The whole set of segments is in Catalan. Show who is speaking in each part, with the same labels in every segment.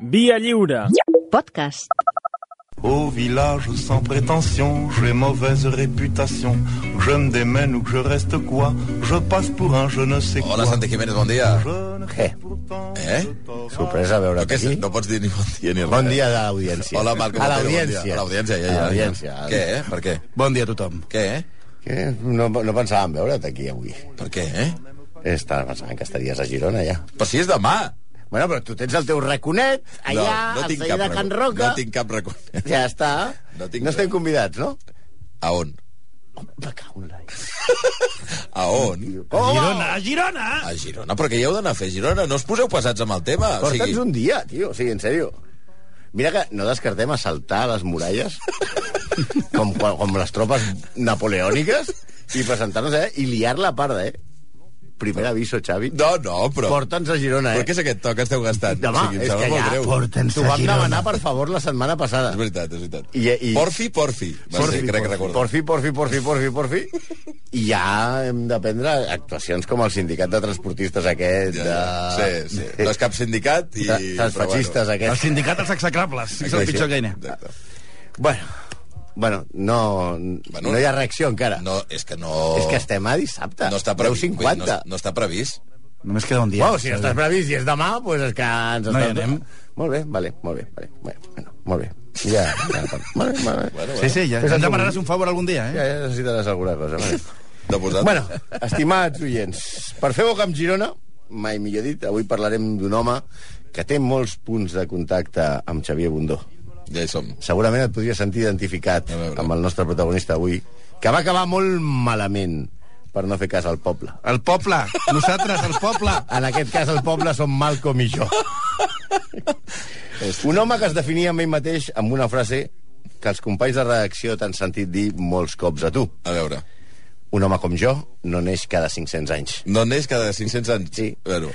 Speaker 1: Via lliure.
Speaker 2: Podcast.
Speaker 3: Au village sans prétention, j'ai mauvaise réputation. Que je me démène ou que je reste quoi, je passe pour un je ne sais
Speaker 4: Oh,
Speaker 3: quoi.
Speaker 5: Hola, Santi Jiménez, bon dia.
Speaker 6: Què?
Speaker 5: Eh?
Speaker 6: Sorpresa
Speaker 5: No,
Speaker 6: veure't
Speaker 5: què,
Speaker 6: aquí.
Speaker 5: no pots dir ni bon dia ni res.
Speaker 6: Bon dia a l'audiència.
Speaker 5: Hola, Marc.
Speaker 6: A
Speaker 5: bon dia, Bon dia. A
Speaker 6: l'audiència.
Speaker 5: l'audiència, ja, ja.
Speaker 6: A
Speaker 5: ja.
Speaker 6: l'audiència.
Speaker 5: Què, eh? Per què?
Speaker 4: Bon dia a tothom.
Speaker 5: Què, eh?
Speaker 6: Què? No, no pensàvem veure't aquí avui.
Speaker 5: Per què, eh?
Speaker 6: Estava pensant que estaries a Girona, ja.
Speaker 5: Però si és demà.
Speaker 6: Bueno, però tu tens el teu raconet allà, al celler de
Speaker 5: racó.
Speaker 6: Can Roca.
Speaker 5: No tinc cap racó.
Speaker 6: Ja està.
Speaker 5: No tinc
Speaker 6: no estem
Speaker 5: res.
Speaker 6: convidats, no?
Speaker 5: A on?
Speaker 6: Me cago en la...
Speaker 5: A on?
Speaker 6: Oh,
Speaker 1: Girona, Girona!
Speaker 5: A Girona. Però què hi heu d'anar a fer, a Girona? No us poseu passats amb el tema. O
Speaker 6: Porta'ns
Speaker 5: sigui,
Speaker 6: un dia, tio, o sigui, en sèrio. Mira que no descartem assaltar les muralles com, com les tropes napoleòniques i presentar-nos, eh? I liar la part, eh? Primer aviso, Xavi.
Speaker 5: No, no, però...
Speaker 6: Porta'ns a Girona,
Speaker 5: Però
Speaker 6: eh?
Speaker 5: què és aquest to que esteu gastant?
Speaker 6: Demà,
Speaker 5: em
Speaker 6: és
Speaker 5: sembla
Speaker 6: que
Speaker 5: molt
Speaker 6: ja
Speaker 5: greu.
Speaker 4: Porta'ns
Speaker 6: T'ho
Speaker 4: a
Speaker 6: vam
Speaker 4: Girona.
Speaker 6: demanar, per favor, la setmana passada.
Speaker 5: És veritat, és veritat.
Speaker 6: I- i-
Speaker 5: Porfi, porfi. Va
Speaker 6: Porfi,
Speaker 5: ser, crec que
Speaker 6: porfi,
Speaker 5: recordo.
Speaker 6: Porfi, porfi, porfi, porfi, porfi. I ja hem de prendre actuacions com el sindicat de transportistes aquest,
Speaker 5: Ja,
Speaker 6: de...
Speaker 5: ja. Sí, sí. No és cap sindicat i...
Speaker 6: Tra-
Speaker 5: però
Speaker 6: Transfeixistes
Speaker 5: bueno.
Speaker 6: aquests.
Speaker 4: El sindicat dels execrables. És el pitjor que hi ha.
Speaker 5: Exacte.
Speaker 6: Bueno, bueno, no, bueno, no hi ha reacció encara. No.
Speaker 5: No, és que no...
Speaker 6: És que estem a dissabte.
Speaker 5: no està previst. vull dir,
Speaker 6: 10.50.
Speaker 5: No, no està previst.
Speaker 4: Només queda un dia.
Speaker 6: Bueno, si no estàs previst i és demà, doncs pues és que ens
Speaker 4: No hi
Speaker 6: estàs-
Speaker 4: anem.
Speaker 6: Molt bé, vale, molt bé, vale. Bueno, molt bé. Ja, ja, molt bé, molt bé.
Speaker 5: Bueno,
Speaker 4: Sí, sí, ja.
Speaker 6: Fes
Speaker 4: Ens
Speaker 6: el
Speaker 4: demanaràs un favor algun dia, eh?
Speaker 6: Ja, ja necessitaràs alguna cosa. Vale.
Speaker 5: De posat.
Speaker 6: Bueno, estimats oients, per fer boca amb Girona, mai millor dit, avui parlarem d'un home que té molts punts de contacte amb Xavier Bundó.
Speaker 5: Ja hi som.
Speaker 6: Segurament et podria sentir identificat
Speaker 5: A veure.
Speaker 6: amb el nostre protagonista avui, que va acabar molt malament per no fer cas al poble.
Speaker 4: El poble. Nosaltres, el poble.
Speaker 6: En aquest cas, el poble som Malcolm i jo. Un home que es definia amb ell mateix amb una frase que els companys de redacció t'han sentit dir molts cops a tu.
Speaker 5: A veure.
Speaker 6: Un home com jo no neix cada 500 anys.
Speaker 5: No n'és cada 500 anys.
Speaker 6: Sí.
Speaker 5: Bueno,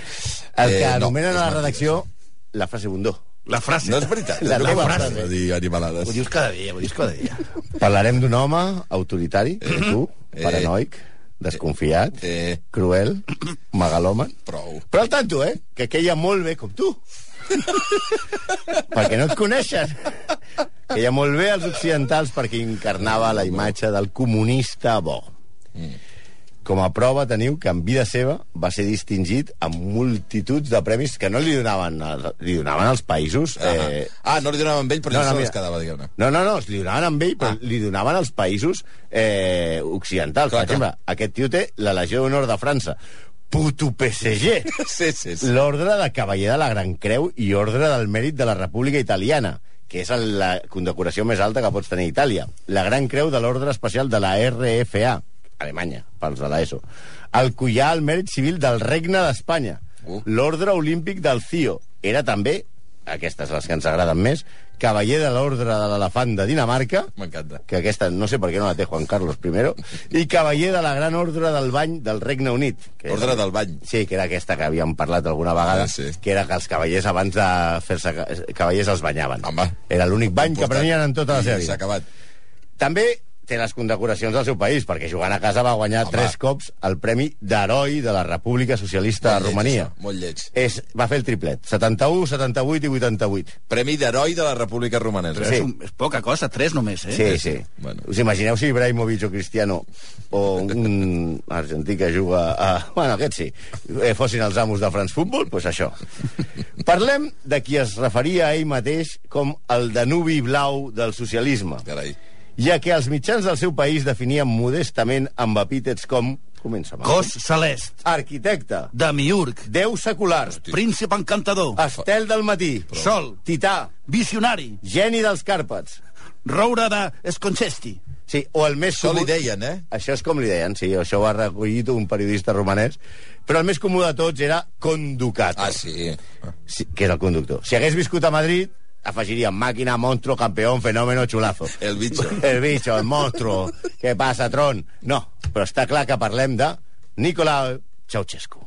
Speaker 6: El
Speaker 4: Eh,
Speaker 6: que
Speaker 5: no,
Speaker 6: anomenen
Speaker 5: és
Speaker 6: a la
Speaker 5: mentida.
Speaker 6: redacció la frase bundó.
Speaker 4: La frase.
Speaker 5: No és veritat.
Speaker 6: La
Speaker 5: és el que
Speaker 6: teva
Speaker 5: m'agrada
Speaker 6: frase.
Speaker 5: Dir animalades.
Speaker 4: dius cada dia, ho dius cada dia.
Speaker 6: Parlarem d'un home autoritari, eh, tu,
Speaker 5: Eh.
Speaker 6: paranoic, desconfiat,
Speaker 5: Eh.
Speaker 6: cruel, megaloman...
Speaker 5: Prou.
Speaker 6: Però al tanto, eh? Que queia molt bé com tu. perquè no et coneixen. Queia molt bé als occidentals perquè encarnava la imatge del comunista bo. Com a prova teniu que en vida seva va ser distingit amb multituds de premis que no li donaven, als- li donaven als països... Eh,
Speaker 5: Ah, no li donaven vell, però
Speaker 6: No,
Speaker 5: no,
Speaker 6: no,
Speaker 5: no,
Speaker 6: mira.
Speaker 5: es quedava, diguem-ne.
Speaker 6: No, no, no, li donaven amb ell, però ah. li donaven als països eh, occidentals.
Speaker 5: Clar,
Speaker 6: per exemple, aquest tio té la Legió d'Honor de França. Puto PSG!
Speaker 5: Sí, sí, sí.
Speaker 6: L'ordre de Cavaller de la Gran Creu i Ordre del Mèrit de la República Italiana, que és el- la condecoració més alta que pots tenir a Itàlia. La Gran Creu de l'Ordre Especial de la RFA, Alemanya, pels de l'ESO. El collar al Mèrit Civil del Regne d'Espanya.
Speaker 5: Uh.
Speaker 6: L'Ordre Olímpic del CIO. Era també, aquestes les que ens agraden més, Cavaller de l'Ordre de l'Elefant de Dinamarca,
Speaker 5: M'encanta.
Speaker 6: que aquesta no sé per què no la té Juan Carlos I i cavaller de la Gran Ordre del Bany del Regne Unit. Que
Speaker 5: Ordre del Bany.
Speaker 6: Sí, que era aquesta que havíem parlat alguna vegada,
Speaker 5: Ah, sí.
Speaker 6: que era que els cavallers abans de fer-se ca- cavallers els banyaven.
Speaker 5: Home.
Speaker 6: Era l'únic bany que
Speaker 5: Portat.
Speaker 6: prenien en tota la
Speaker 5: I
Speaker 6: seva
Speaker 5: S'ha
Speaker 6: vida.
Speaker 5: acabat.
Speaker 6: També té les condecoracions del seu país, perquè jugant a casa va guanyar
Speaker 5: Home.
Speaker 6: tres cops el Premi d'Heroi de la República Socialista
Speaker 5: Molt
Speaker 6: de
Speaker 5: lleig,
Speaker 6: Romania.
Speaker 5: això, molt lleig.
Speaker 6: És, va fer el triplet, 71, 78 i 88.
Speaker 5: Premi d'heroi de la República Romanesa.
Speaker 6: Sí.
Speaker 4: És, un, és poca cosa, tres només, eh?
Speaker 6: Sí, sí.
Speaker 5: Bueno.
Speaker 6: Bueno. Us imagineu si Ibrahimovic o Cristiano o un argentí que juga a... Bueno, aquest sí. Eh, fossin els amos de France Football, doncs pues això. Parlem de qui es referia a ell mateix com el Danubi blau del socialisme,
Speaker 5: Carai.
Speaker 6: ja que els mitjans del seu país definien modestament amb epítets com... Comença, amb-
Speaker 4: Cos celest,
Speaker 6: Arquitecte,
Speaker 4: de miurg,
Speaker 6: Déu secular,
Speaker 4: príncip encantador,
Speaker 5: Ah,
Speaker 6: Estel del matí,
Speaker 4: sol,
Speaker 6: Tità,
Speaker 4: visionari,
Speaker 6: Geni dels Càrpats.
Speaker 4: roure de Esconchesti.
Speaker 6: Sí, o el més...
Speaker 5: Això li
Speaker 6: comú-
Speaker 5: deien, eh?
Speaker 6: Això és com li deien, sí, això ho ha recollit un periodista romanès. Però el més comú de tots era Conducato,
Speaker 5: Ah, sí. Ah.
Speaker 6: sí, que és el conductor. Si hagués viscut a Madrid, afegiria màquina, monstruo, campeón, fenómeno, chulazo.
Speaker 5: El bitxo.
Speaker 6: El bicho, el monstruo, què passa, Tron? No, però està clar que parlem de Nicolau Ceausescu.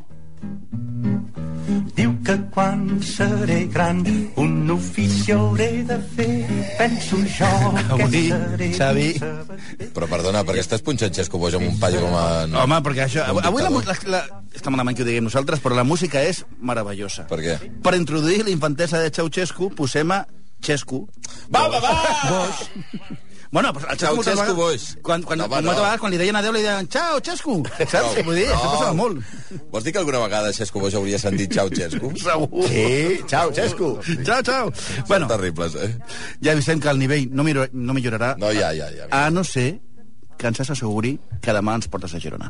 Speaker 1: Diu que quan seré gran un ofici hauré de fer. Penso jo
Speaker 4: Gaudí,
Speaker 1: que seré...
Speaker 4: Xavi.
Speaker 1: Xavi.
Speaker 5: Però perdona, perquè estàs punxant Xesco Boix amb un paio com a...
Speaker 4: Home, perquè això...
Speaker 5: Com
Speaker 4: Avui la, mu- la,
Speaker 5: dictador.
Speaker 4: la, està malament que ho diguem nosaltres, però la música és meravellosa.
Speaker 5: Per què?
Speaker 4: Per introduir la infantesa de Ceausescu, posem a Xescu.
Speaker 5: Va, Ah, va, va!
Speaker 4: Bueno, però el Xescu... moltes
Speaker 5: Ceausescu
Speaker 4: vegades-
Speaker 5: Boix.
Speaker 4: Quan, quan,
Speaker 5: No, home,
Speaker 4: quan,
Speaker 5: no.
Speaker 4: moltes vegades, quan li deien adeu, li deien xau, Xescu. Saps què vull dir? Això passava molt.
Speaker 5: Vols dir que alguna vegada Xesco Boix hauria sentit xau, Xesco?
Speaker 4: Segur.
Speaker 6: Sí, xau,
Speaker 5: Oh,
Speaker 6: Xesco.
Speaker 4: Xau, xau. Bueno,
Speaker 5: Són terribles, eh?
Speaker 4: ja avisem que el nivell no, miro, no millorarà
Speaker 5: No, ja, ja, ja.
Speaker 4: A no ser que ens asseguri que demà ens portes a Girona.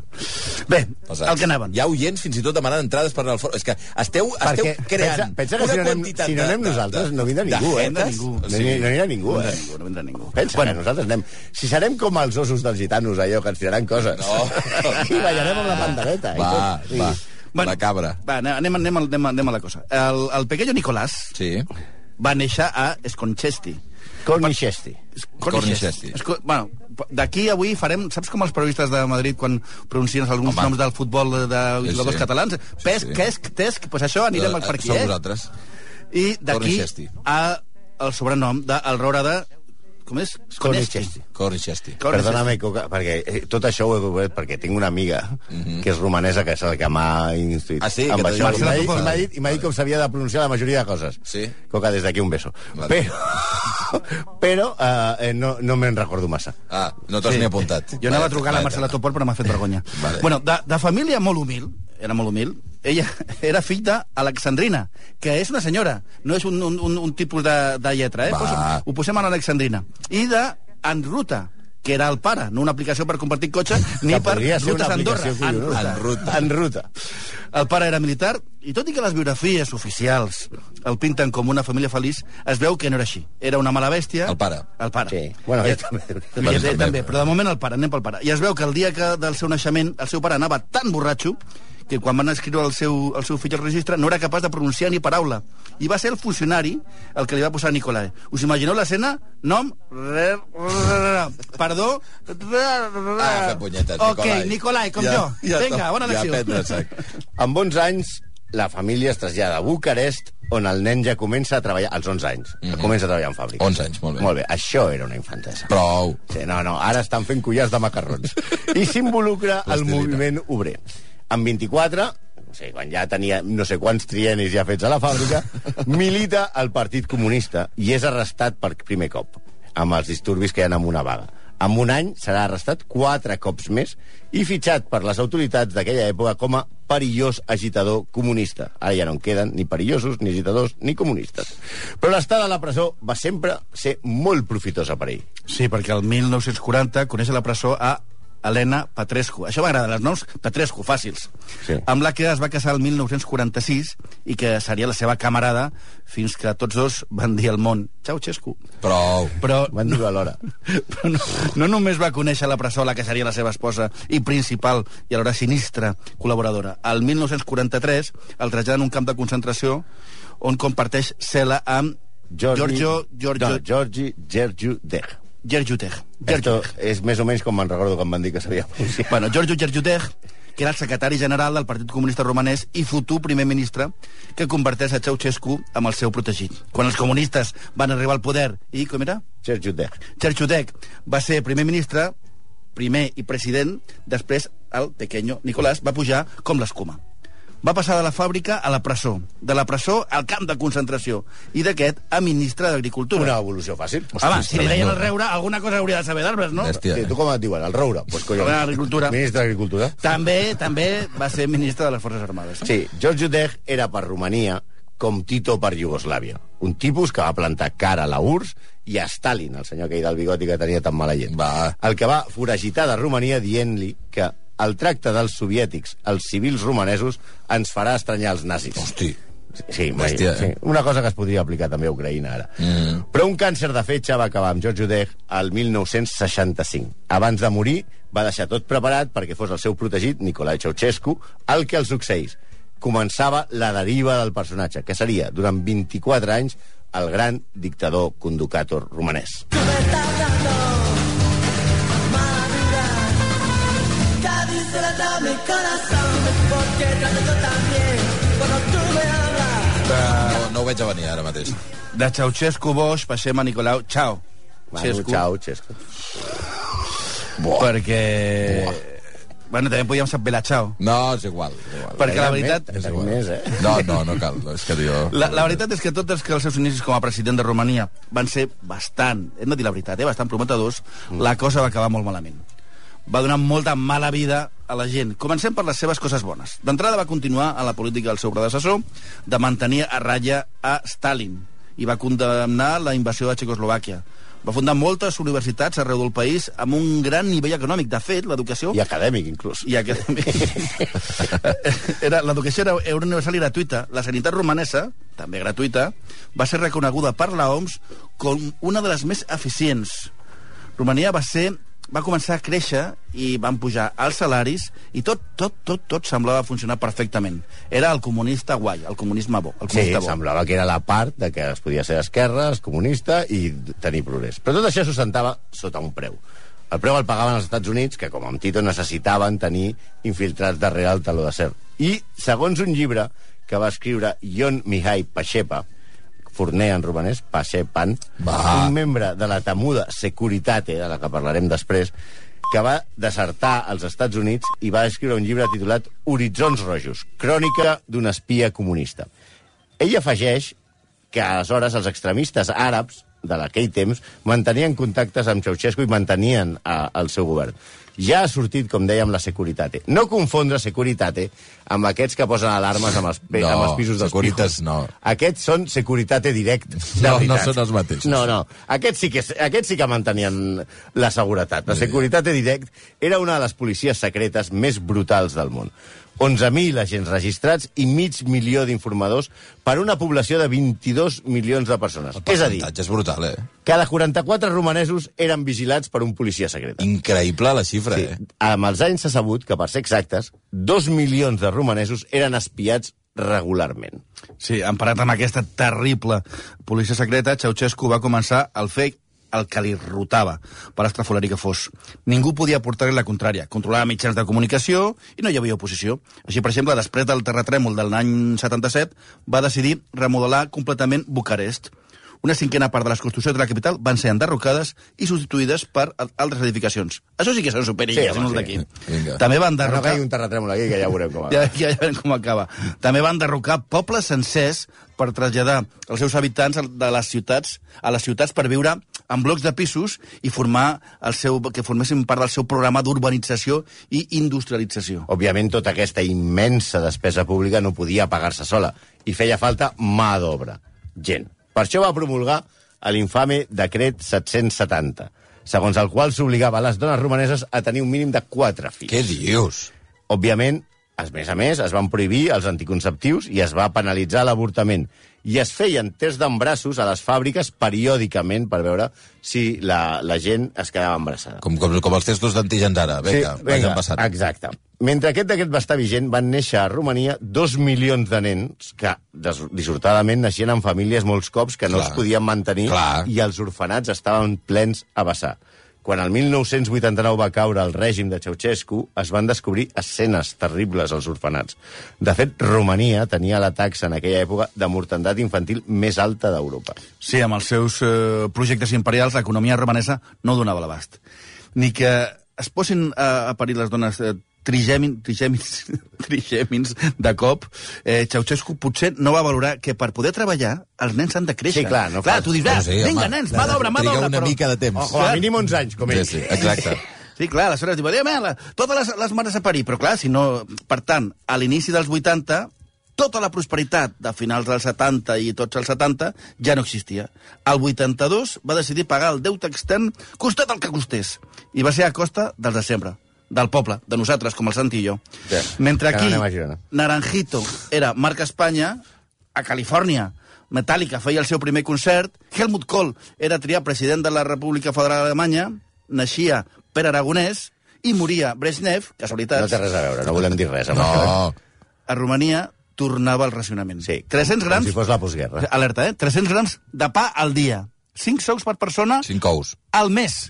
Speaker 4: Bé,
Speaker 5: Pesats.
Speaker 4: el que anaven.
Speaker 5: Hi ha oients fins i tot demanant entrades per anar al fòrum. És que esteu, esteu
Speaker 6: Perquè
Speaker 5: creant
Speaker 6: pensa- pensa que si no anem- si no anem nosaltres, no vindrà ningú, eh?
Speaker 5: de jetes.
Speaker 4: No
Speaker 6: No n'hi no n'hi ha ningú, eh?
Speaker 4: ningú, no vindrà ningú.
Speaker 6: Pensa bueno. que nosaltres anem... Si serem com els ossos dels gitanos, allò, que ens tiraran coses.
Speaker 5: No.
Speaker 6: I ballarem amb la pandereta. eh?
Speaker 5: Va,
Speaker 6: i tot.
Speaker 5: va.
Speaker 6: I...
Speaker 5: La cabra.
Speaker 4: Va, anem, anem, anem, al- anem, a- anem a la cosa. El, el pequeño Nicolás
Speaker 5: Sí.
Speaker 4: va néixer a Sconchesti.
Speaker 6: Cornichesti.
Speaker 5: Cornichesti.
Speaker 4: Esco, bueno, d'aquí avui farem... Saps com els periodistes de Madrid quan pronuncien alguns
Speaker 5: Home.
Speaker 4: noms del futbol de, de
Speaker 5: Sí,
Speaker 4: jugadors
Speaker 5: sí.
Speaker 4: catalans? Pesc,
Speaker 5: sí.
Speaker 4: quesc, tesc... Doncs pues això anirem per aquí,
Speaker 5: Som
Speaker 4: eh?
Speaker 5: nosaltres.
Speaker 4: I d'aquí
Speaker 5: Cornichesti.
Speaker 4: a el sobrenom del Rora de... Com és?
Speaker 6: Cornichesti.
Speaker 5: Cornichesti.
Speaker 6: Perdóname, Coca, perquè eh, tot això ho he obert perquè tinc una amiga que és romanesa, que és el que m'ha instruït.
Speaker 5: Mhm. Ah, sí?
Speaker 6: Amb
Speaker 5: Que t'ha
Speaker 6: això.
Speaker 5: dit-
Speaker 6: I m'ha
Speaker 5: Vale.
Speaker 6: dit- i m'ha dit, i m'ha dit com s'havia de pronunciar la majoria de coses.
Speaker 5: Sí.
Speaker 6: Coca, des d'aquí un beso.
Speaker 5: Vale.
Speaker 6: Però, però eh, no, no me'n recordo massa.
Speaker 5: Ah, no t'has ni apuntat.
Speaker 4: Jo anava
Speaker 5: Vale,
Speaker 4: a trucar a la
Speaker 5: vale,
Speaker 4: Marcela
Speaker 5: vale.
Speaker 4: Topor, però m'ha fet vergonya.
Speaker 5: Vale.
Speaker 4: Bueno, de, de família molt humil, era molt humil, ella era fill d'Alexandrina, que és una senyora, no és un, un, un, un tipus de, de lletra, eh?
Speaker 5: Va.
Speaker 4: Posa- ho posem a l'Alexandrina. I de Enruta, que era el pare, no una aplicació per compartir cotxe, ni
Speaker 6: Que
Speaker 4: per
Speaker 6: podria ser
Speaker 4: rutes
Speaker 6: una
Speaker 4: a Andorra.
Speaker 6: aplicació collonuda.
Speaker 4: En ruta.
Speaker 6: En ruta.
Speaker 4: El pare era militar, i tot i que les biografies oficials el pinten com una família feliç, es veu que no era així. Era una mala bèstia.
Speaker 5: El pare.
Speaker 4: El pare.
Speaker 6: Sí. Bueno, ell també.
Speaker 4: I
Speaker 5: Bueno,
Speaker 4: ell
Speaker 5: també.
Speaker 4: també, però de moment el pare, anem pel pare. I es veu que el dia que del seu naixement el seu pare anava tan borratxo que quan van escriure el seu, el seu fill al registre no era capaç de pronunciar ni paraula. I va ser el funcionari el que li va posar Nicolai. Us imagineu l'escena? Nom... Re, re, re, perdó... Re, re.
Speaker 5: Ah, que punyetes,
Speaker 4: Ok,
Speaker 5: Nicolai.
Speaker 4: Nicolai, com
Speaker 5: Ja-
Speaker 4: jo.
Speaker 5: ja
Speaker 4: Vinga,
Speaker 5: to-
Speaker 4: bona
Speaker 5: ja
Speaker 4: lecció.
Speaker 5: prendre sac.
Speaker 6: Amb 11 anys, la família es trasllada a Bucarest, on el nen ja comença a treballar, als 11 anys, mm -hmm. comença a treballar en fàbrica.
Speaker 5: 11 Mhm. anys, molt bé.
Speaker 6: Molt bé, això era una infantesa.
Speaker 5: Prou.
Speaker 6: Sí, no, no, ara estan fent collars de macarrons. I s'involucra el
Speaker 5: Plastilina.
Speaker 6: moviment obrer. Amb 24, no sé, quan ja tenia no sé quants trienis ja fets a la fàbrica, milita al Partit Comunista i és arrestat per primer cop, amb els disturbis que hi ha amb una vaga. En un any serà arrestat quatre cops més i fitxat per les autoritats d'aquella època com a perillós agitador comunista. Ara ja no en queden ni perillosos, ni agitadors, ni comunistes. Però l'estada a la presó va sempre ser molt profitosa per ell.
Speaker 4: Sí, perquè el 1940 coneix a la presó a Helena Petrescu. Això m'agrada, els noms Petrescu, fàcils.
Speaker 6: Sí.
Speaker 4: Amb la que es va casar el 1946 i que seria la seva camarada fins que tots dos van dir al món «Xau, Xescu».
Speaker 5: Prou.
Speaker 4: Però,
Speaker 6: Van dir-ho alhora.
Speaker 4: però no, no només va conèixer la presó, la que seria la seva esposa i principal i alhora sinistra col·laboradora. El 1943 el traslladen a un camp de concentració on comparteix cel·la amb
Speaker 6: Jordi-
Speaker 4: Giorgio, Giorgio,
Speaker 6: No, Giorgi Gergiu Deg.
Speaker 4: Gergiutech.
Speaker 6: Esto és més o menys com me'n recordo quan van dir que sabia pronunciar.
Speaker 4: Bueno, Giorgio Gergiutech, que era el secretari general del Partit Comunista Romanès i futur primer ministre, que converteix a Ceausescu en el seu protegit. Quan els comunistes van arribar al poder i, com era?
Speaker 6: Gergiu Deg.
Speaker 4: Gergiutech va ser primer ministre, primer i president, després el pequeño Nicolás va pujar com l'escuma. Va passar de la fàbrica a la presó, de la presó al camp de concentració, i d'aquest a ministre d'Agricultura.
Speaker 6: Una evolució fàcil.
Speaker 4: Home, si li deien
Speaker 5: tremendo.
Speaker 4: el reure, alguna cosa hauria de saber d'arbres, no?
Speaker 5: Bèstia.
Speaker 6: Sí, tu com et diuen? El Roura? Pues, collons.
Speaker 4: Home, Agricultura.
Speaker 6: Ministre d'Agricultura.
Speaker 4: També, també va ser ministre de les Forces Armades.
Speaker 6: Sí, George Deg era per Romania com Tito per Iugoslàvia. Un tipus que va plantar cara a la URSS i a Stalin, el senyor aquell del bigoti que tenia tan mala llet.
Speaker 5: Va.
Speaker 6: El que va foragitar de Romania dient-li que el tracte dels soviètics als civils romanesos ens farà estranyar els nazis.
Speaker 5: Hosti.
Speaker 6: Sí,
Speaker 5: Bèstia,
Speaker 6: Hòstia, sí.
Speaker 5: eh?
Speaker 6: Una cosa que es podria aplicar també a Ucraïna ara.
Speaker 5: Mm.
Speaker 6: Però un càncer de fetge va acabar amb George Udeh al 1965. Abans de morir, va deixar tot preparat perquè fos el seu protegit, Nicolai Ceausescu, el que el succeís. Començava la deriva del personatge, que seria, durant 24 anys, el gran dictador conducator romanès.
Speaker 2: Cádiz se la da mi corazón, porque te tengo también. Cuando tú
Speaker 5: No, no ho veig a venir ara mateix.
Speaker 4: De Ceausescu Bosch passem a Nicolau. Ciao.
Speaker 6: Bueno, Chao, Xesco.
Speaker 4: Perquè... Bueno, també podíem saber la Ciao.
Speaker 5: No, és igual. És igual.
Speaker 4: Perquè la veritat...
Speaker 6: És més, eh?
Speaker 5: No, no, no cal. És que jo...
Speaker 4: La, la veritat és que tots els que els seus inicis com a president de Romania van ser bastant, hem de dir la veritat, eh, bastant prometedors, mm. la cosa va acabar molt malament. Va donar molta mala vida a la gent. Comencem per les seves coses bones. D'entrada va continuar a la política del seu predecessor de mantenir a ratlla a Stalin i va condemnar la invasió de Txecoslovàquia. Va fundar moltes universitats arreu del país amb un gran nivell econòmic. De fet, l'educació...
Speaker 6: I acadèmic, inclús.
Speaker 4: I aquest també. era, l'educació era, era universal i gratuïta. La sanitat romanesa, també gratuïta, va ser reconeguda per la OMS com una de les més eficients. Romania va ser va començar a créixer i van pujar els salaris i tot, tot, tot, tot semblava funcionar perfectament. Era el comunista guai, el comunisme bo. El
Speaker 6: Sí,
Speaker 4: comunista bo.
Speaker 6: semblava que era la part de que es podia ser d'esquerres, comunista i tenir progrés. Però tot això s'ho sentava sota un preu. El preu el pagaven els Estats Units, que com amb Tito necessitaven tenir infiltrats darrere el taló de ser. I, segons un llibre que va escriure Ion Mihai Pachepa, forner en romanès, Pachepan,
Speaker 5: Va.
Speaker 6: un membre de la temuda Securitate, de la que parlarem després, que va desertar als Estats Units i va escriure un llibre titulat Horitzons Rojos, crònica d'un espia comunista. Ell afegeix que aleshores els extremistes àrabs de l'aquell temps mantenien contactes amb Ceausescu i mantenien eh, el seu govern. Ja ha sortit, com dèiem, la Securitate. No confondre Securitate amb aquests que posen alarmes amb els, pe
Speaker 5: No,
Speaker 6: amb els pisos dels
Speaker 5: Securitas
Speaker 6: pijos.
Speaker 5: no.
Speaker 6: Aquests són Securitate directe. de
Speaker 5: No, no
Speaker 6: veritat.
Speaker 5: són els mateixos.
Speaker 6: No, no. Aquests sí que, aquests sí que mantenien la seguretat. La Securitat Direct era una de les policies secretes més brutals del món. 11.000 agents registrats i mig milió d'informadors per una població de 22 milions de persones. És a dir,
Speaker 5: percentatge és brutal, eh?
Speaker 6: cada 44 romanesos eren vigilats per un policia secret.
Speaker 5: Increïble la xifra,
Speaker 6: Sí.
Speaker 5: sí. eh?
Speaker 6: Amb els anys s'ha sabut que, per ser exactes, dos milions de romanesos eren espiats regularment.
Speaker 4: Sí, emparat amb aquesta terrible policia secreta, Ceausescu va començar el fake el que li rotava, per estrafolari que fos. Ningú podia portar-li la contrària. Controlava mitjans de comunicació i no hi havia oposició. Així, per exemple, després del terratrèmol de l'any 77, va decidir remodelar completament Bucarest. Una cinquena part de les construccions de la capital van ser enderrocades i substituïdes per al- altres edificacions. Això sí que són
Speaker 6: Sí,
Speaker 4: superilles,
Speaker 6: home,
Speaker 4: sí, no
Speaker 6: sí.
Speaker 4: els d'aquí.
Speaker 5: Vinga.
Speaker 4: També va
Speaker 6: No, no
Speaker 4: enderrocar...
Speaker 6: caigui un terratrèmol aquí, que ja veurem com
Speaker 4: Ja,
Speaker 6: va.
Speaker 4: ja, ja veurem com acaba. També van derrocar pobles sencers per traslladar els seus habitants al- de les ciutats a les ciutats per viure en blocs de pisos i formar el seu, que formessin part del seu programa d'urbanització i industrialització.
Speaker 6: Òbviament, tota aquesta immensa despesa pública no podia pagar-se sola i feia falta mà d'obra, gent. Per això va promulgar l'infame decret 770, segons el qual s'obligava a les dones romaneses a tenir un mínim de 4 fills.
Speaker 5: Què dius?
Speaker 6: Òbviament, a més a més, es van prohibir els anticonceptius i es va penalitzar l'avortament. I es feien tests d'embrassos a les fàbriques periòdicament per veure si la, la gent es quedava embarassada.
Speaker 5: Com, com, com els testos d'antígens ara. Vinga, sí, vinga. passat.
Speaker 6: Exacte. Mentre aquest decret va estar vigent, van néixer a Romania dos milions de nens que, des- dissortadament, naixien en famílies molts cops que no
Speaker 5: Clar.
Speaker 6: els podien mantenir
Speaker 5: Clar.
Speaker 6: i els orfenats estaven plens a vessar. Quan el 1989 va caure el règim de Ceausescu, es van descobrir escenes terribles als orfenats. De fet, Romania tenia la taxa en aquella època de mortandat infantil més alta d'Europa.
Speaker 4: Sí, amb els seus eh, projectes imperials, l'economia romanesa no donava l'abast. Ni que es posin a, a parir les dones eh, trigèmin, trigèmins, trigèmins de cop, eh, Ceausescu potser no va valorar que per poder treballar els nens han de créixer.
Speaker 6: Sí, clar, no
Speaker 4: clar
Speaker 6: fas-
Speaker 4: tu dius, ah, sí, vinga, nens, mà d'obra, mà
Speaker 5: Triga
Speaker 4: d'obra.
Speaker 5: una mica de temps.
Speaker 6: O, o a mínim 11 anys, com
Speaker 5: Sí,
Speaker 6: ell.
Speaker 5: sí, exacte.
Speaker 4: Sí, clar, aleshores diu, "Adéu, mare, totes les, les mares a parir, però clar, si no... Per tant, a l'inici dels 80, tota la prosperitat de finals dels 70 i tots els 70 ja no existia. El 82 va decidir pagar el deute extern costat el que costés, i va ser a costa dels de sempre del poble, de nosaltres, com el Santi i jo.
Speaker 6: Ja,
Speaker 4: Mentre
Speaker 6: ara
Speaker 4: aquí,
Speaker 6: anem a Girona.
Speaker 4: Naranjito era marca Espanya a Califòrnia. Metallica feia el seu primer concert. Helmut Kohl era triat president de la República Federal d'Alemanya. Naixia Pere Aragonès i moria Brezhnev,
Speaker 6: No té
Speaker 4: casualitats.
Speaker 6: res a veure, no volem dir res. Amb això. eh?
Speaker 5: No,
Speaker 4: A Romania tornava el racionament.
Speaker 6: Sí,
Speaker 4: 300
Speaker 6: com
Speaker 4: grams...
Speaker 6: si fos la postguerra.
Speaker 4: Alerta, eh? 300 grams de pa al dia. 5 socs per persona
Speaker 5: cinc ous.
Speaker 4: al mes.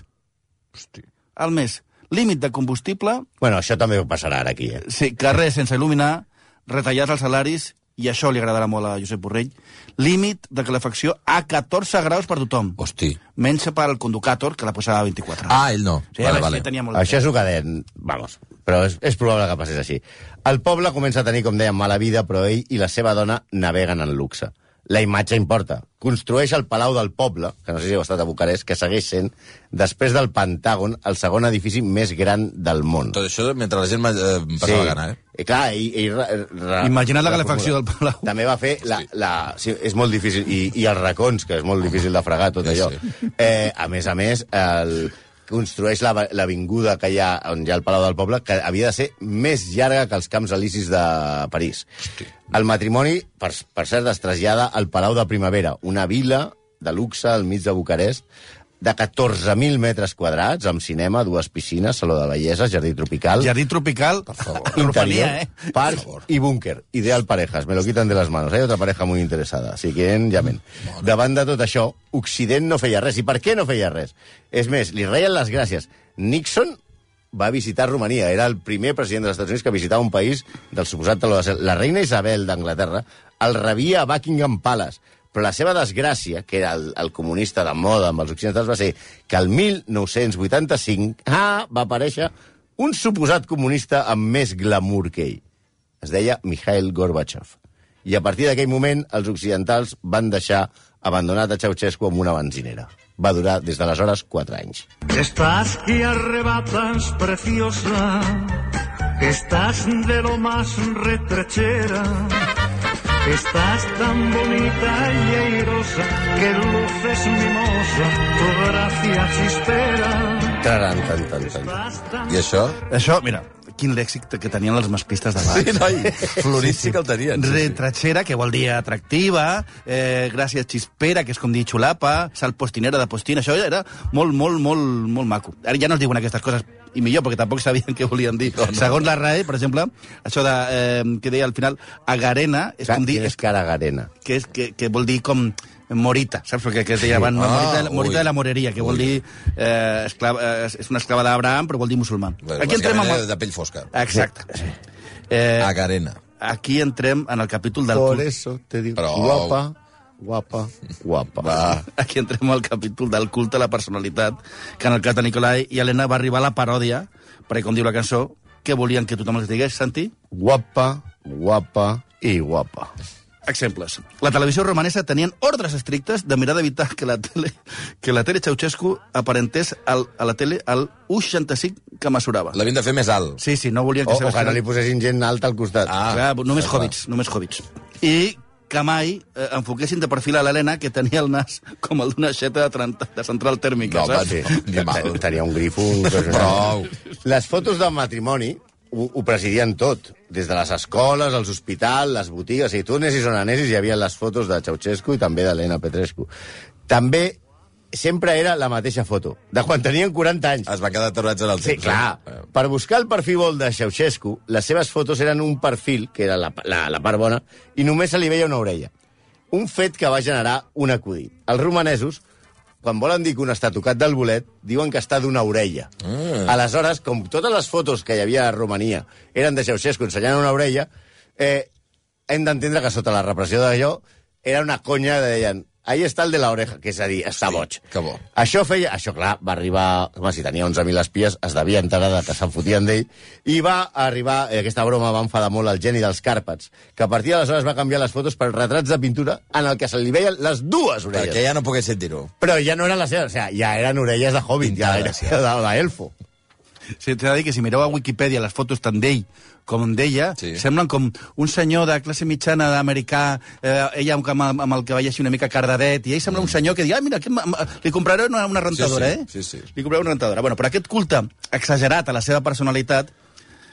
Speaker 4: Al mes. Límit de combustible
Speaker 6: Bueno, això també ho passarà ara aquí, eh?
Speaker 4: sí, carrers sense il·luminar, retallats els salaris i això li agradarà molt a Josep Borrell, límit de calefacció a 14 graus per tothom.
Speaker 5: Hosti.
Speaker 4: Menys pel conducàtor, que la posava a 24.
Speaker 5: Ah, ell no.
Speaker 4: Sí,
Speaker 5: vale,
Speaker 4: sí,
Speaker 5: vale.
Speaker 4: tenia molt
Speaker 6: Això és el que deien, vamos, però és, és probable que passés així. El poble comença a tenir, com dèiem, mala vida, però ell i la seva dona naveguen en luxe. La imatge importa. Construeix el Palau del Poble, que no sé si heu estat a Bucarest, que segueix sent, després del Pentàgon, el segon edifici més gran del món.
Speaker 5: Tot això mentre la gent eh, em passava sí. gana, eh?
Speaker 6: I clar, i, i, ra- ra-
Speaker 4: Imagina't la
Speaker 6: ra-
Speaker 4: calefacció del Palau.
Speaker 6: També va fer... La, la, sí, és molt difícil. I, I els racons, que és molt difícil de fregar, tot
Speaker 5: Sí,
Speaker 6: allò.
Speaker 5: sí.
Speaker 6: Eh, a més a més, el, construeix la- l'avinguda la, que hi ha on hi ha el Palau del Poble, que havia de ser més llarga que els Camps Elisis de París. El matrimoni, per, per cert, es trasllada al Palau de Primavera, una vila de luxe al mig de Bucarest, de 14.000 metres quadrats, amb cinema, dues piscines, saló de bellesa, jardí tropical...
Speaker 4: Jardí tropical,
Speaker 6: Interior,
Speaker 4: orfania, eh?
Speaker 6: parc y búnquer. Ideal parejas, me lo quitan de las manos. Hay otra pareja muy interesada, si quieren, llamen. Davant de tot això, Occident no feia res. I per què no feia res? És més, li reien les gràcies. Nixon va visitar Romania. Era el primer president dels Estats Units que visitava un país del suposat taló de cel. La reina Isabel d'Anglaterra el rebia a Buckingham Palace. Però la seva desgràcia, que era el, el comunista de moda amb els occidentals, va ser que el 1985 ah, va aparèixer un suposat comunista amb més glamour que ell. Es deia Mikhail Gorbachev. I a partir d'aquell moment, els occidentals van deixar abandonat a Ceausescu amb una benzinera. Va durar des d'aleshores 4 anys.
Speaker 1: Estás que arrebatas preciosa, estás de lo más retrechera, estás tan bonita y airosa que luces mimosa, tu gracia chispera.
Speaker 6: Taran, tan, tan, tan.
Speaker 1: Estás tan
Speaker 5: I això?
Speaker 4: Això, mira, quin lèxic que tenien els masclistes d'abans.
Speaker 5: Sí, noi, florit sí que el tenien. Sí, sí.
Speaker 4: Retratxera, que vol dir atractiva, eh, gràcies xispera, que és com dir xulapa, sal postinera de postina, això era molt, molt, molt, molt maco. Ara ja no es diuen aquestes coses, i millor, perquè tampoc sabien què volien dir. No, no. Segons la RAE, per exemple, això de, eh, que deia al final, agarena, és com dir,
Speaker 6: Ca-
Speaker 4: és,
Speaker 6: és Caragarena.
Speaker 4: que, és, que, que vol dir com morita, saps el que, que es deia abans?
Speaker 5: Ah,
Speaker 4: morita, de la,
Speaker 5: ui.
Speaker 4: morita de la moreria, que vol dir... Eh, esclava, eh, és una esclava d'Abraham, però vol dir musulmà.
Speaker 5: Bueno,
Speaker 4: Aquí entrem
Speaker 5: bàsicament
Speaker 4: amb...
Speaker 5: era De pell fosca.
Speaker 4: Exacte. Eh,
Speaker 5: A Garena.
Speaker 4: aquí entrem en el capítol del...
Speaker 6: Por
Speaker 4: cul-
Speaker 6: eso te digo,
Speaker 5: Però-
Speaker 6: guapa, guapa, guapa.
Speaker 5: Va.
Speaker 4: Aquí entrem al capítol del culte a la personalitat, que en el cas de Nicolai i Helena va arribar a la paròdia, perquè, com diu la cançó, que volien que tothom els digués, Santi?
Speaker 6: Guapa, guapa i guapa.
Speaker 4: Exemples. La televisió romanesa tenien ordres estrictes de mirar d'evitar que la tele, que la tele Ceausescu aparentés al, a la tele al 1,65 que mesurava.
Speaker 5: L'havien de fer més alt.
Speaker 4: Sí, sí, no volien
Speaker 6: O,
Speaker 4: que
Speaker 6: o que no
Speaker 4: s'abascara-
Speaker 6: li posessin gent alta al costat.
Speaker 5: Ah,
Speaker 4: Clar, només
Speaker 5: clar.
Speaker 4: hobbits, només hobbits. I que mai eh, enfoquessin de perfil a l'Helena, que tenia el nas com el d'una xeta de, trenta- de central
Speaker 5: No,
Speaker 4: tèrmica, saps?
Speaker 6: Sí,
Speaker 5: Ni mal.
Speaker 6: tenia un grifo...
Speaker 5: Prou.
Speaker 6: Les fotos del matrimoni ho, ho presidien tot. Des de les escoles, els hospitals, les botigues... O sigui, tu anessis on anessis hi havia les fotos de Ceausescu i també d'Helena Petrescu. També sempre era la mateixa foto, de quan tenien 40 anys.
Speaker 5: Es van quedar aturats en el temps.
Speaker 6: Sí, clar.
Speaker 5: eh?
Speaker 6: Per buscar el perfil vol de Ceausescu, les seves fotos eren un perfil, que era la, la, la part bona, i només se li veia una orella. Un fet que va generar un acudit. Els romanesos, quan volen dir que un està tocat del bolet, diuen que està d'una orella. Mm. Aleshores, com totes les fotos que hi havia a Romania eren de Ceausescu ensenyant una orella, eh, hem d'entendre que sota la repressió d'allò era una conya de deien ahí està el de la oreja, que és a dir, està boig.
Speaker 5: que bo.
Speaker 6: Això feia... Això, clar, va arribar... Home, si tenia 11.000 espies, es devia enterar de que se'n fotien d'ell. I va arribar... Eh, aquesta broma va enfadar molt el geni dels Càrpats, que a partir d'aleshores va canviar les fotos per retrats de pintura en el que se li veien les dues orelles.
Speaker 5: Perquè ja no pogués sentir-ho.
Speaker 6: Però ja no eren les seves, o sigui, ja eren orelles de Hobbit, ja era
Speaker 5: Pintades,
Speaker 6: de, de elfo.
Speaker 4: Sí, T'he de dir que si mireu a Wikipedia les fotos tant d'ell com d'ella,
Speaker 5: Sí.
Speaker 4: sí. semblen com un senyor de classe mitjana d'americà, eh, ella amb, amb, amb el cavall així una mica cardadet, i ell sembla un senyor que diu, ah, mira, aquest, ma- ma- li compraré una, una rentadora,
Speaker 5: Mm. sí,
Speaker 4: eh?
Speaker 5: sí, sí.
Speaker 4: Li compraré una rentadora. Bueno, però aquest culte exagerat a la seva personalitat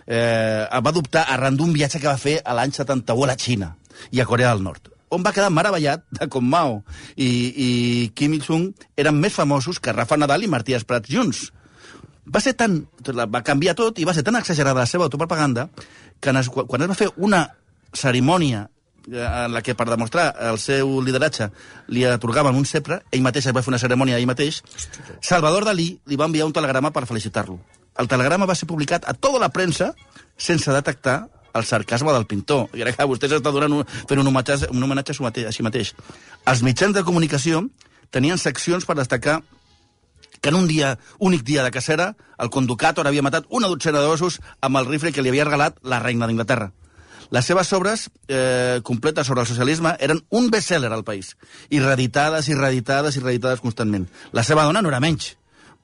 Speaker 4: eh, el va adoptar arran d'un viatge que va fer a l'any 71 a la Xina i a Corea del Nord on va quedar meravellat de com Mao i, i Kim Il-sung eren més famosos que Rafa Nadal i Martí Esprats junts va ser tan... tot la- Va canviar tot i va ser tan exagerada la seva autopropaganda que en es, quan quan es va fer una cerimònia eh, en la que per demostrar el seu lideratge li atorgaven un cepre, ell mateix es va fer una cerimònia ell mateix, Salvador Dalí li va enviar un telegrama per felicitar-lo. El telegrama va ser publicat a tota la premsa sense detectar el sarcasme del pintor. I ara que vostè s'està donant un, fent un homenatge, un homenatge a, su mate, a si mateix. Els mitjans de comunicació tenien seccions per destacar que en un dia, únic dia de cacera, el conducàtor havia matat una dotzena d'ossos amb el rifle que li havia regalat la reina d'Inglaterra. Les seves obres eh, completes sobre el socialisme eren un best-seller al país, i reeditades, i reeditades, i reeditades constantment. La seva dona no era menys.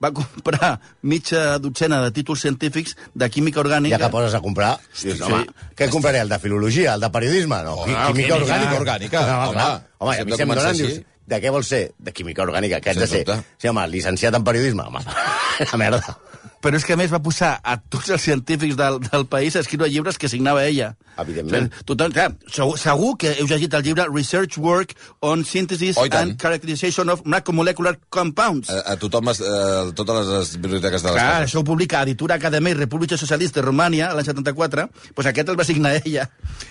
Speaker 4: Va comprar mitja dotzena de títols científics de química orgànica...
Speaker 6: Ja que poses a comprar, dius,
Speaker 4: Sí.
Speaker 6: home, què compraré, el de filologia, el de periodisme? No, qui- química
Speaker 5: química
Speaker 6: orgànica.
Speaker 5: orgànica,
Speaker 6: No,
Speaker 5: home,
Speaker 6: clar. home,
Speaker 5: si hem de
Speaker 6: a mi si em
Speaker 5: començar
Speaker 6: donen,
Speaker 5: així.
Speaker 6: dius, de què vols ser? De química orgànica, què has de
Speaker 5: Sens
Speaker 6: ser?
Speaker 5: dubte.
Speaker 6: Sí, home, llicenciat en periodisme, home, la merda.
Speaker 4: Però és que, a més, va posar a tots els científics del, del país a escriure llibres que signava ella.
Speaker 6: Evidentment.
Speaker 4: O sigui, Tothom, clar, segur, segur que heu llegit el llibre Research Work on Synthesis
Speaker 5: Oh, i tant. Eh,
Speaker 4: and Characterization of Macromolecular Compounds.
Speaker 5: A, a tothom, es- a totes les biblioteques de les
Speaker 4: Clar,
Speaker 5: cases.
Speaker 4: això ho publica Editora Academia i República Socialista de Romània l'any 74, doncs aquest el va signar ella.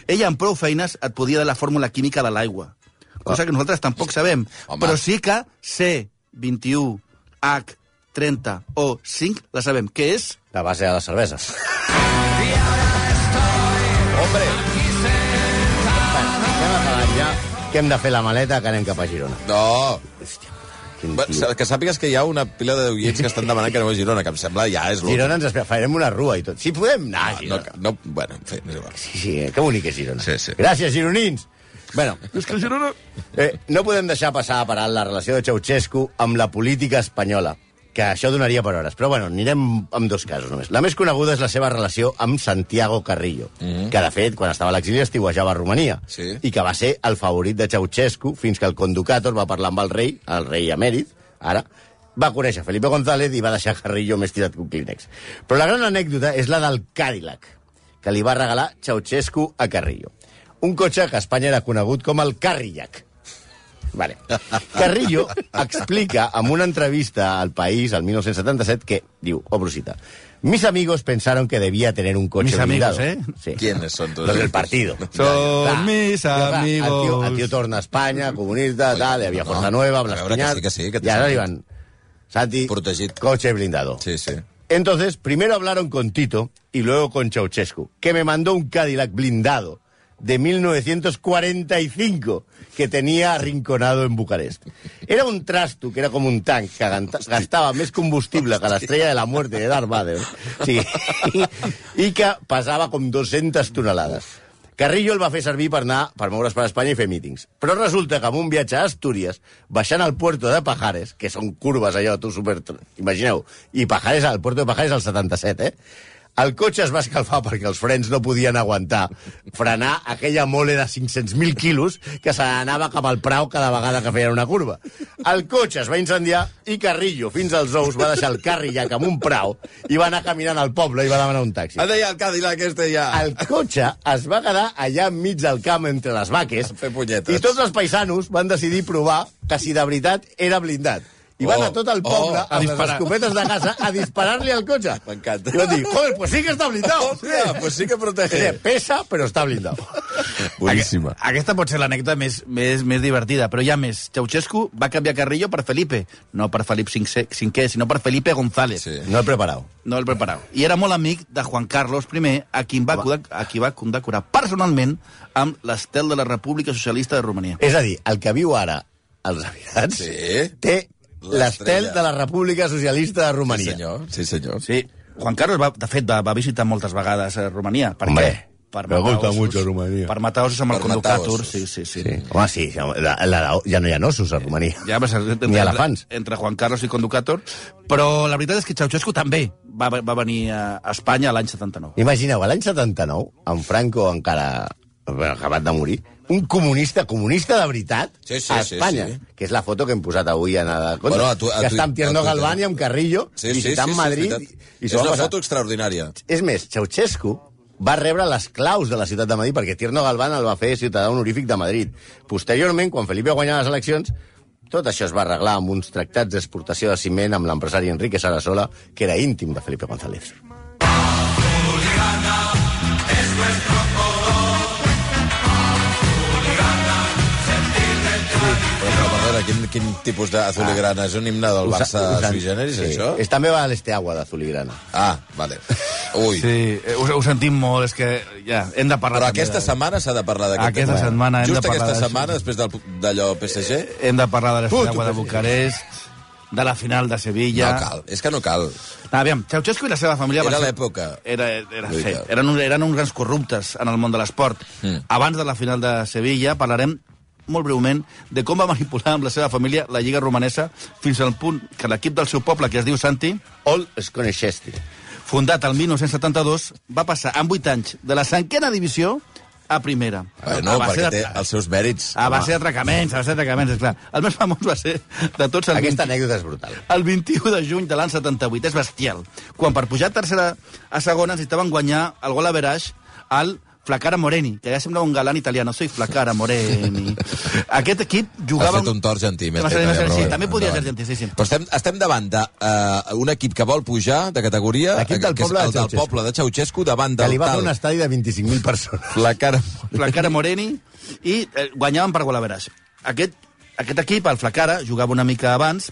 Speaker 4: Ella, amb prou feines, et podia de la fórmula química de l'aigua, cosa que nosaltres tampoc sabem.
Speaker 5: Home.
Speaker 4: Però sí que C, 21, H, 30 o 5 la sabem, que és...
Speaker 6: La base de les cerveses.
Speaker 5: Hombre,
Speaker 6: Hem acabat ja, que hem de fer la maleta, que anem cap a Girona.
Speaker 5: no.
Speaker 6: Hòstia, quin
Speaker 5: Va,
Speaker 6: tio.
Speaker 5: Que sàpigues que hi ha una pila de oients que estan demanant que aneu a Girona, que em sembla ja és l'últim.
Speaker 6: Girona ens espera, farem una rua i tot. Si podem anar a
Speaker 5: No,
Speaker 6: Girona.
Speaker 5: no, bueno, en fi, és igual.
Speaker 6: Sí, sí, eh, Ah, que bonic és Girona.
Speaker 5: Sí, sí.
Speaker 6: Gràcies, gironins. Bueno,
Speaker 4: És que Girona...
Speaker 6: Eh, no podem deixar passar a parar la relació de Ceausescu amb la política espanyola, que això donaria per hores. Però, bueno, anirem amb dos casos només. La més coneguda és la seva relació amb Santiago Carrillo, que, de fet, quan estava a l'exili estiuejava a Romania,
Speaker 5: Sí.
Speaker 6: i que va ser el favorit de Ceausescu fins que el conducàtor va parlar amb el rei, el rei emèrit, ara, va conèixer Felipe González i va deixar Carrillo més tirat que un clínex. Però la gran anècdota és la del Cadillac, que li va regalar Ceausescu a Carrillo. Un cotxe que a Espanya era conegut com el Carrillac. Vale. Carrillo explica en una entrevista al País, al 1977, que, diu, obro cita, mis amigos pensaron que debía tener un coche
Speaker 4: Mis amigos,
Speaker 6: blindado".
Speaker 4: ¿eh?
Speaker 6: Sí.
Speaker 5: ¿Quiénes son todos
Speaker 6: Los del
Speaker 5: estos?
Speaker 6: partido.
Speaker 4: Son
Speaker 6: Claro.
Speaker 4: mis
Speaker 6: Clar, clar, El tio, el
Speaker 4: amigos.
Speaker 6: tio torna a Espanya, comunista,
Speaker 5: Oye,
Speaker 6: tal, hi
Speaker 5: no,
Speaker 6: havia
Speaker 5: no.
Speaker 6: Força Nueva,
Speaker 5: A
Speaker 6: Blas
Speaker 5: veure que
Speaker 6: Piñar,
Speaker 5: sí, que sí, que te
Speaker 6: I ara
Speaker 5: sento.
Speaker 6: li van... Santi,
Speaker 5: Protegit.
Speaker 6: coche blindado.
Speaker 5: Sí, sí.
Speaker 6: Entonces, primero hablaron con Tito y luego con Ceausescu, que me mandó un Cadillac blindado de 1945 que tenía arrinconado en Bucarest. Era un trasto que era como un tanc que ganta- gastava més combustible que l'estrella de la muerte de Darth Vader sí. i que pesava com 200 tonelades. Carrillo el va fer servir per anar per moure's per Espanya i fer mítings. Però resulta que en un viatge a Astúries, baixant al puerto de Pajares, que són curves allò, tu super... Imagineu, i Pajares, el puerto de Pajares al 77, eh? El cotxe es va escalfar perquè els frens no podien aguantar frenar aquella mole de 500.000 quilos que se n'anava cap al prau cada vegada que feien una curva. El cotxe es va incendiar i Carrillo, fins als ous, va deixar el carrillac amb un prau i va anar caminant al poble i va demanar un taxi.
Speaker 5: Ha de ja el Cadillac este ja.
Speaker 6: El cotxe es va quedar allà enmig del camp entre les vaques
Speaker 5: A fer punyetes.
Speaker 6: i tots els paisanos van decidir provar que si de veritat era blindat. I van
Speaker 5: Oh,
Speaker 6: a tot el
Speaker 5: oh,
Speaker 6: poble
Speaker 5: a
Speaker 6: amb les
Speaker 5: disparar.
Speaker 6: escopetes de casa a disparar-li al cotxe.
Speaker 5: M'encanta.
Speaker 6: I van dir, joder, pues sí que està blindat.
Speaker 5: Hòstia, pues sí que protege.
Speaker 6: Eh, Pesa, però està blindat.
Speaker 5: Boníssima.
Speaker 4: Aque- Aquesta pot ser l'anècdota més, més, més divertida, però ja més. Ceausescu va canviar Carrillo per Felipe. No per Felip V, cinquè, sinó per Felipe González.
Speaker 5: Sí.
Speaker 6: No he preparat.
Speaker 4: No el preparau. I era molt amic de Juan Carlos I, a qui, va, conde- a qui va condecorar personalment amb l'estel de la República Socialista de Romania.
Speaker 6: És a dir, el que viu ara als Emirats
Speaker 5: Sí.
Speaker 6: té l'estel
Speaker 5: L'estrella.
Speaker 6: de la República Socialista de
Speaker 5: Sí,
Speaker 6: Romania.
Speaker 5: senyor. Sí, senyor.
Speaker 4: Sí, Juan Carlos, va, de fet, va, va visitar moltes vegades a Romania. Per
Speaker 6: Hombre,
Speaker 4: què? Per
Speaker 6: me
Speaker 4: matar
Speaker 6: gusta
Speaker 4: ossos.
Speaker 6: mucho Rumanía.
Speaker 4: Per matar ossos amb el
Speaker 5: Per matar
Speaker 4: conducàtor.
Speaker 5: ossos.
Speaker 4: Sí, sí, sí.
Speaker 6: Sí. Home, sí, la, la, la, ja no hi ha ossos a Romania.
Speaker 4: Ja va ser entre,
Speaker 6: Ni elefants.
Speaker 4: Entre, entre Juan Carlos i Conducàtor. Però la veritat és que Ceausescu també va, va venir a Espanya l'any 79.
Speaker 6: Imagineu, a l'any 79, en Franco encara bueno, acabat de morir, un comunista, comunista de veritat,
Speaker 5: Sí, sí,
Speaker 6: a
Speaker 5: sí,
Speaker 6: Espanya,
Speaker 5: sí.
Speaker 6: que és la foto que hem posat avui en el compte,
Speaker 5: Bueno, a tu- a
Speaker 6: que
Speaker 5: tu-
Speaker 6: està amb
Speaker 5: a
Speaker 6: Tierno
Speaker 5: Twitter.
Speaker 6: Galván i amb Carrillo,
Speaker 5: Sí, sí, sí,
Speaker 6: visitant
Speaker 5: sí,
Speaker 6: Madrid.
Speaker 5: és veritat.
Speaker 6: i, i
Speaker 5: és
Speaker 6: s'ho va
Speaker 5: una
Speaker 6: passar.
Speaker 5: foto extraordinària.
Speaker 6: És més, Ceausescu va rebre les claus de la ciutat de Madrid perquè Tierno Galván el va fer ciutadà honorífic de Madrid. Posteriorment, quan Felipe guanyà les eleccions, tot això es va arreglar amb uns tractats d'exportació de ciment amb l'empresari Enrique Sarasola, que era íntim de Felipe González.
Speaker 5: Però, però, perdona, quin, quin tipus d'azuligrana? Ah. És un himne del Barça
Speaker 6: Us- us-
Speaker 5: sui generis,
Speaker 6: sí.
Speaker 5: això?
Speaker 6: És també va a l'Esteagua, d'Azul i Grana.
Speaker 5: Ah, vale. Ui. Sí.
Speaker 4: Sí, eh, us, us sentim molt, és que ja, hem de parlar...
Speaker 5: Però
Speaker 4: també
Speaker 5: aquesta
Speaker 4: de-
Speaker 5: setmana s'ha de parlar d'aquest
Speaker 4: Aquesta
Speaker 5: tema.
Speaker 4: setmana hem
Speaker 5: Just
Speaker 4: de parlar
Speaker 5: aquesta
Speaker 4: d'això.
Speaker 5: setmana, després del- d'allò PSG...
Speaker 4: Hem de parlar de l'Espanyagua
Speaker 5: tu,
Speaker 4: de Bucarest, de la final de
Speaker 5: Ja.
Speaker 4: Sevilla...
Speaker 5: No cal, és que no cal.
Speaker 4: Ah, aviam, Ceausescu i la seva família...
Speaker 5: Era
Speaker 4: van ser-
Speaker 5: l'època.
Speaker 4: Era, era, sí,
Speaker 5: Veritat.
Speaker 4: eren, un- eren uns grans corruptes en el món de l'esport.
Speaker 5: Mm.
Speaker 4: Mm. Abans de la final de Sevilla parlarem molt breument de com va manipular amb la seva família la Lliga Romanesa fins al punt que l'equip del seu poble, que es diu Santi,
Speaker 6: Ol es coneixesti.
Speaker 4: fundat el 1972, va passar en 8 anys de la cinquena divisió a primera.
Speaker 5: Bueno,
Speaker 4: base
Speaker 5: Eh, perquè
Speaker 4: Ah, de- Ah,
Speaker 5: té els seus mèrits.
Speaker 4: A base d'atracaments, a base d'atracaments, és clar. El més famós va ser de tots els
Speaker 6: Aquesta anècdota és brutal.
Speaker 4: el 21 de juny de l'any 78. És bestial. Quan per pujar a tercera a segona necessitaven guanyar el gol a Veraix al Flacara Moreni, que ja sembla un galant italiano. Soy Flacara Moreni. Aquest equip
Speaker 5: Ha
Speaker 4: jugava...
Speaker 5: fet un tort argentí. més
Speaker 4: Va ser-
Speaker 5: que
Speaker 4: va
Speaker 5: italià,
Speaker 4: ser-
Speaker 5: però
Speaker 4: sí,
Speaker 5: bé,
Speaker 4: també podria ser
Speaker 5: endavant.
Speaker 4: argentí, sí, sí.
Speaker 5: Però estem, estem davant d'un equip que vol pujar de categoria, eh,
Speaker 6: L'equip del
Speaker 5: que és
Speaker 6: poble de
Speaker 5: el del
Speaker 6: Ceaușescu.
Speaker 5: poble de Ceausescu, davant
Speaker 6: Que
Speaker 5: del
Speaker 6: li va fer
Speaker 5: tal...
Speaker 6: un estadi de 25.000 persones.
Speaker 5: La cara...
Speaker 4: Flacara Moreni, i eh, guanyaven per gol a Veraix. Aquest, aquest equip, el Flacara, jugava una mica abans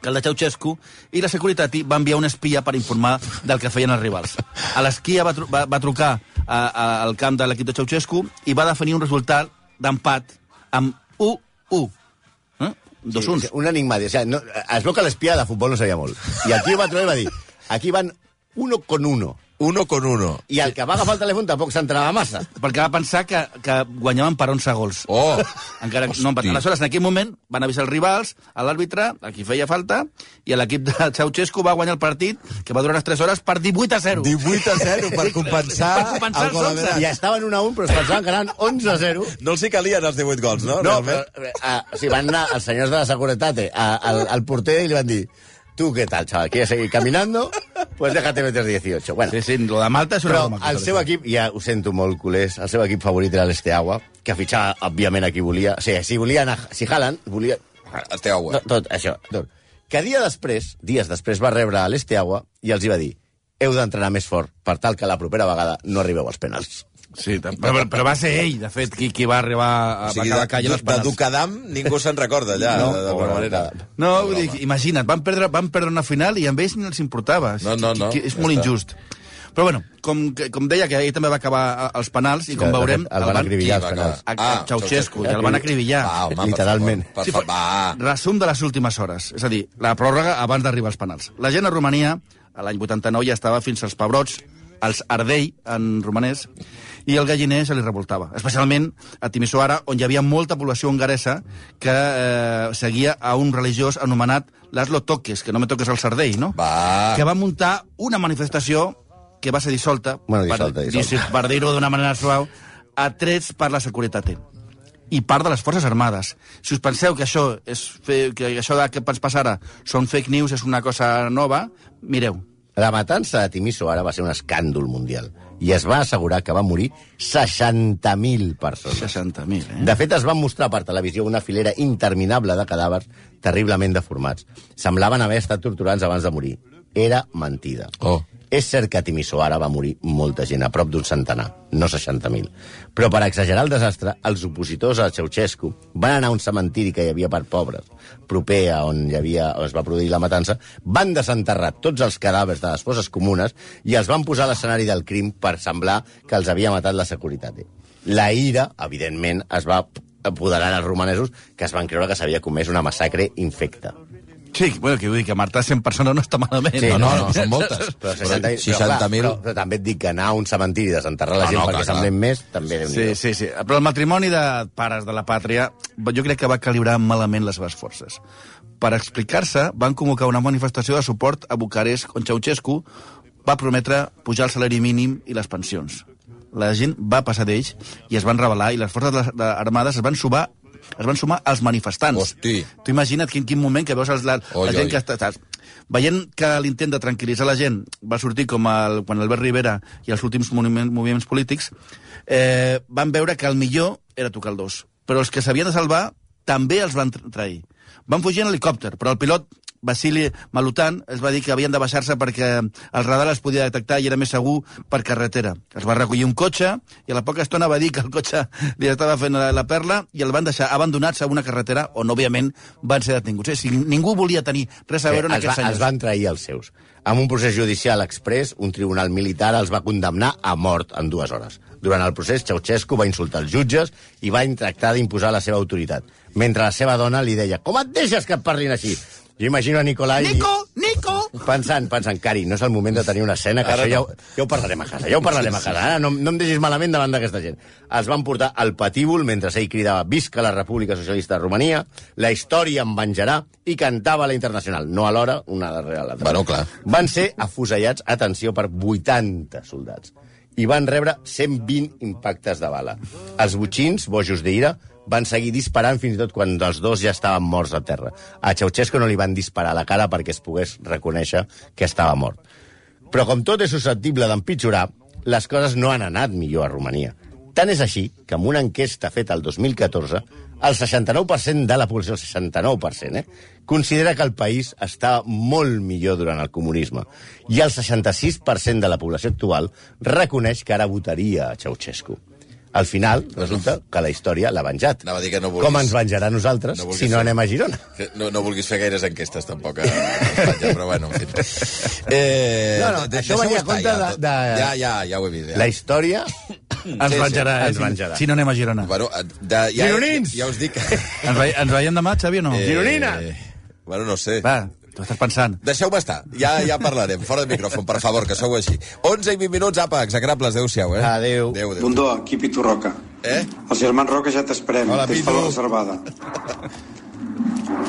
Speaker 4: que el de Ceausescu, i la Securitat va enviar un espia per informar del que feien els rivals. A l'esquia va, tru va, va trucar a, a, al camp de l'equip de Ceausescu i va definir un resultat d'empat amb 1-1. Eh? Dos uns.
Speaker 6: Sí, un enigma. O sea, no, es veu que l'espia de futbol no sabia molt. I el tio va trobar i va dir, aquí van uno con uno.
Speaker 5: Uno con uno.
Speaker 6: I el que va agafar el telèfon tampoc s'entrava massa.
Speaker 4: Perquè va pensar que, que guanyaven per 11 gols.
Speaker 5: Oh!
Speaker 4: Encara que no
Speaker 5: Hosti.
Speaker 4: empaten. Aleshores, en aquell moment, van avisar els rivals, a l'àrbitre, a qui feia falta, i l'equip de Ceausescu va guanyar el partit, que va durar unes 3 hores, per 18 a 0.
Speaker 5: 18 a 0 per compensar,
Speaker 4: Per compensar
Speaker 5: el gol a
Speaker 4: els onze.
Speaker 5: Veraç.
Speaker 6: I estaven 1 a 1, però es pensaven que anaven 11 a 0.
Speaker 5: No els hi calien els 18 gols, no?
Speaker 6: No, però,
Speaker 5: Realment?
Speaker 6: eh, ah, o sigui, van anar els senyors de la seguretat eh, a- al, al porter i li van dir tu què tal, chaval, quieres seguir caminando? Pues déjate meter 18. Bueno,
Speaker 4: Sí, sí, lo de Malta és una
Speaker 6: però
Speaker 4: broma. tota
Speaker 6: el seu equip, ja ho sento molt, culers, el seu equip favorit era l'Esteagua, que fitxava, òbviament, a qui volia. O sigui, si volia anar, si Haaland, volia...
Speaker 5: Esteu a
Speaker 6: Tot, tot això. Tot. Que dia després, dies després, va rebre a l'Esteagua i els hi va dir heu d'entrenar més fort per tal que la propera vegada no arribeu als penals.
Speaker 4: Sí, tam- però, però va ser ell, de fet, qui, qui va arribar a,
Speaker 5: O
Speaker 4: o
Speaker 5: sigui,
Speaker 4: sigui, a
Speaker 5: de,
Speaker 4: la calle
Speaker 5: de,
Speaker 4: les
Speaker 5: de
Speaker 4: penals.
Speaker 5: Ducadam ningú se'n recorda, allà, no, de, de
Speaker 6: pobre
Speaker 5: bona manera.
Speaker 6: Ducadam.
Speaker 4: No, vull dir, imagina't, van perdre, van perdre una final i a ells ni els importava.
Speaker 5: No, no, no,
Speaker 4: Que, que és
Speaker 5: ja
Speaker 4: molt
Speaker 5: està.
Speaker 4: injust. Però bueno, com, que- com deia que ell també va acabar a- als penals i com
Speaker 6: Que, de
Speaker 4: veurem...
Speaker 6: fet, el van acribillar
Speaker 5: Qui
Speaker 6: als
Speaker 5: va
Speaker 6: penals.
Speaker 4: A,
Speaker 5: Ah,
Speaker 4: a Ceausescu, i el van acribillar.
Speaker 5: Va, home, per
Speaker 6: Literalment.
Speaker 5: favor, Per favor, va.
Speaker 4: Resum de les últimes hores, és a dir, la pròrroga abans d'arribar als penals. La gent a Romania, a l'any 89, ja estava fins als pebrots, als Ardei, en romanès, i el galliner se li revoltava, especialment a Timisoara, on hi havia molta població hongaresa que eh, seguia a un religiós anomenat Laszlo Toques, que no me toques el sardell, no?
Speaker 5: Va.
Speaker 4: Que va muntar una manifestació que va ser dissolta,
Speaker 6: Bueno, dissolta,
Speaker 4: per,
Speaker 6: dissolta.
Speaker 4: dissi- per dir-ho d'una manera suau, a trets per la Securitat i part de les Forces Armades. Si us penseu que això, és fe... que això de que ens passarà són fake news, és una cosa nova, mireu.
Speaker 6: La matança de Timiso ara va ser un escàndol mundial i es va assegurar que va morir 60.000 persones.
Speaker 4: 60.000, eh?
Speaker 6: De fet, es van mostrar per televisió una filera interminable de cadàvers terriblement deformats. Semblaven haver estat torturants abans de morir. Era mentida.
Speaker 5: Oh.
Speaker 6: És cert que a Timisoara va morir molta gent, a prop d'un centenar, no 60.000. Però per exagerar el desastre, els opositors a Ceausescu van anar a un cementiri que hi havia per pobres, proper a on, hi havia, on es va produir la matança, van desenterrar tots els cadàvers de les fosses comunes i els van posar a l'escenari del crim per semblar que els havia matat la Securitat. La ira, evidentment, es va apoderar als romanesos que es van creure que s'havia comès una massacre infecta.
Speaker 4: Sí, bueno, que vull dir que Marta 100 persones no està malament.
Speaker 6: Sí,
Speaker 5: No, no, no, són moltes.
Speaker 6: Però
Speaker 5: 60.000...
Speaker 6: 60.000... Però, clar, però, però també et dic que anar a un cementiri i desenterrar la
Speaker 5: No,
Speaker 6: gent
Speaker 5: no, clar,
Speaker 6: perquè
Speaker 5: clar.
Speaker 6: semblem més, també déu nhi
Speaker 4: Sí, sí, sí. Però el matrimoni de pares de la pàtria jo crec que va calibrar malament les seves forces. Per explicar-se, van convocar una manifestació de suport a Bucarest on Ceausescu va prometre pujar el salari mínim i les pensions. La gent va passar d'ells i es van revelar i les forces de- de- armades es van sumar es van sumar als manifestants.
Speaker 5: Hosti.
Speaker 4: Tu imagina't quin, quin moment que veus els, la,
Speaker 5: Oi,
Speaker 4: la gent
Speaker 5: oi.
Speaker 4: que està... Estàs... Veient que l'intent de tranquil·litzar la gent va sortir com el, quan Albert Rivera i els últims moviments, moviments polítics, eh, van veure que el millor era tocar el dos. Però els que s'havien de salvar també els van tra- trair. Van fugir en helicòpter, però el pilot Vasily Malutan es va dir que havien de baixar-se perquè el radar es podia detectar i era més segur per carretera. Es va recollir un cotxe i a la poca estona va dir que el cotxe li estava fent la, la perla i el van deixar abandonats a una carretera on, òbviament, van ser detinguts. Eh? Si ningú volia tenir res a veure en
Speaker 6: es, va,
Speaker 4: aquests
Speaker 6: es
Speaker 4: senyors.
Speaker 6: van trair els seus. Amb un procés judicial express, un tribunal militar els va condemnar a mort en dues hores. Durant el procés, Ceausescu va insultar els jutges i va tractar d'imposar la seva autoritat, mentre la seva dona li deia «Com et deixes que et parlin així?» Jo imagino a Nicolai...
Speaker 4: Nico! Nico!
Speaker 6: Pensant, pensant, Cari, no és el moment de tenir una escena, que
Speaker 5: Ara
Speaker 6: això ja,
Speaker 5: no.
Speaker 6: ho, ja ho parlarem a casa, ja ho parlarem a casa. Ara no, no em deixis malament davant d'aquesta gent. Els van portar al patíbul mentre ell cridava «Visca la República Socialista de Romania», «La història em venjarà» i cantava a la Internacional. No alhora, una darrere l'altra.
Speaker 5: Bueno, clar.
Speaker 6: Van ser afusellats, atenció, per 80 soldats i van rebre 120 impactes de bala. Els botxins, bojos d'ira, van seguir disparant fins i tot quan dels dos ja estaven morts a terra. A Ceausescu no li van disparar a la cara perquè es pogués reconèixer que estava mort. Però com tot és susceptible d'empitjorar, les coses no han anat millor a Romania. Tant és així que amb una enquesta feta el 2014, el 69% de la població, el 69%, eh, considera que el país està molt millor durant el comunisme. I el 66% de la població actual reconeix que ara votaria a Ceausescu. Al final, resulta que la història l'ha venjat.
Speaker 5: Anava a dir que no vulguis-
Speaker 6: Com ens venjarà a nosaltres
Speaker 5: No
Speaker 6: no
Speaker 5: vulguis
Speaker 6: si no
Speaker 5: fer-
Speaker 6: anem a Girona?
Speaker 5: Que No, no vulguis fer gaires enquestes, tampoc, a Espanya, però bueno, en fi. Eh,
Speaker 6: No, no,
Speaker 5: de-
Speaker 6: això
Speaker 5: deixeu-ho
Speaker 6: venia a
Speaker 5: estar,
Speaker 6: compte
Speaker 5: ja,
Speaker 6: de-
Speaker 5: tot.
Speaker 6: de-
Speaker 5: Ja, ja, ja ho he vist. Ja.
Speaker 6: La història...
Speaker 5: Sí,
Speaker 4: Ens
Speaker 5: sí,
Speaker 4: venjarà, eh?
Speaker 6: ens
Speaker 4: si-
Speaker 6: venjarà.
Speaker 4: Si no anem a Girona.
Speaker 5: Bueno, de, ja,
Speaker 6: Gironins!
Speaker 5: ja us dic... que-
Speaker 4: Ens, ve, ens veiem demà, Xavi, o no?
Speaker 5: Eh,
Speaker 6: Gironina!
Speaker 5: Bueno, no sé.
Speaker 4: Va, tu estàs pensant.
Speaker 5: Deixeu-me estar, ja ja parlarem. Fora de micròfon, per favor, que sou així. 11 i 20 minuts, apa, execrables, adeu-siau, eh?
Speaker 6: Adéu.
Speaker 5: Adéu, adéu.
Speaker 2: Bundó, aquí Pitu Roca.
Speaker 5: Eh?
Speaker 2: Els germans Roca ja t'esperem.
Speaker 5: Hola,
Speaker 2: Tens
Speaker 5: Pitu.
Speaker 2: taula reservada.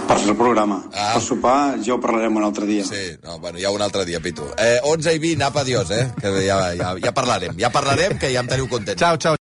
Speaker 2: Per fer el programa.
Speaker 5: Ah.
Speaker 2: Per sopar ja ho parlarem un altre dia.
Speaker 5: Sí, no, bueno, ja un altre dia, Pitu. Eh, 11 i 20, apa, adiós, eh? Que ja, ja, ja parlarem, ja parlarem, que ja em teniu content.
Speaker 4: Ciao, ciao.